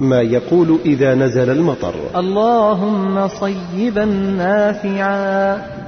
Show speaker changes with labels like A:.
A: ما يقول إذا نزل المطر
B: اللهم صيبا نافعا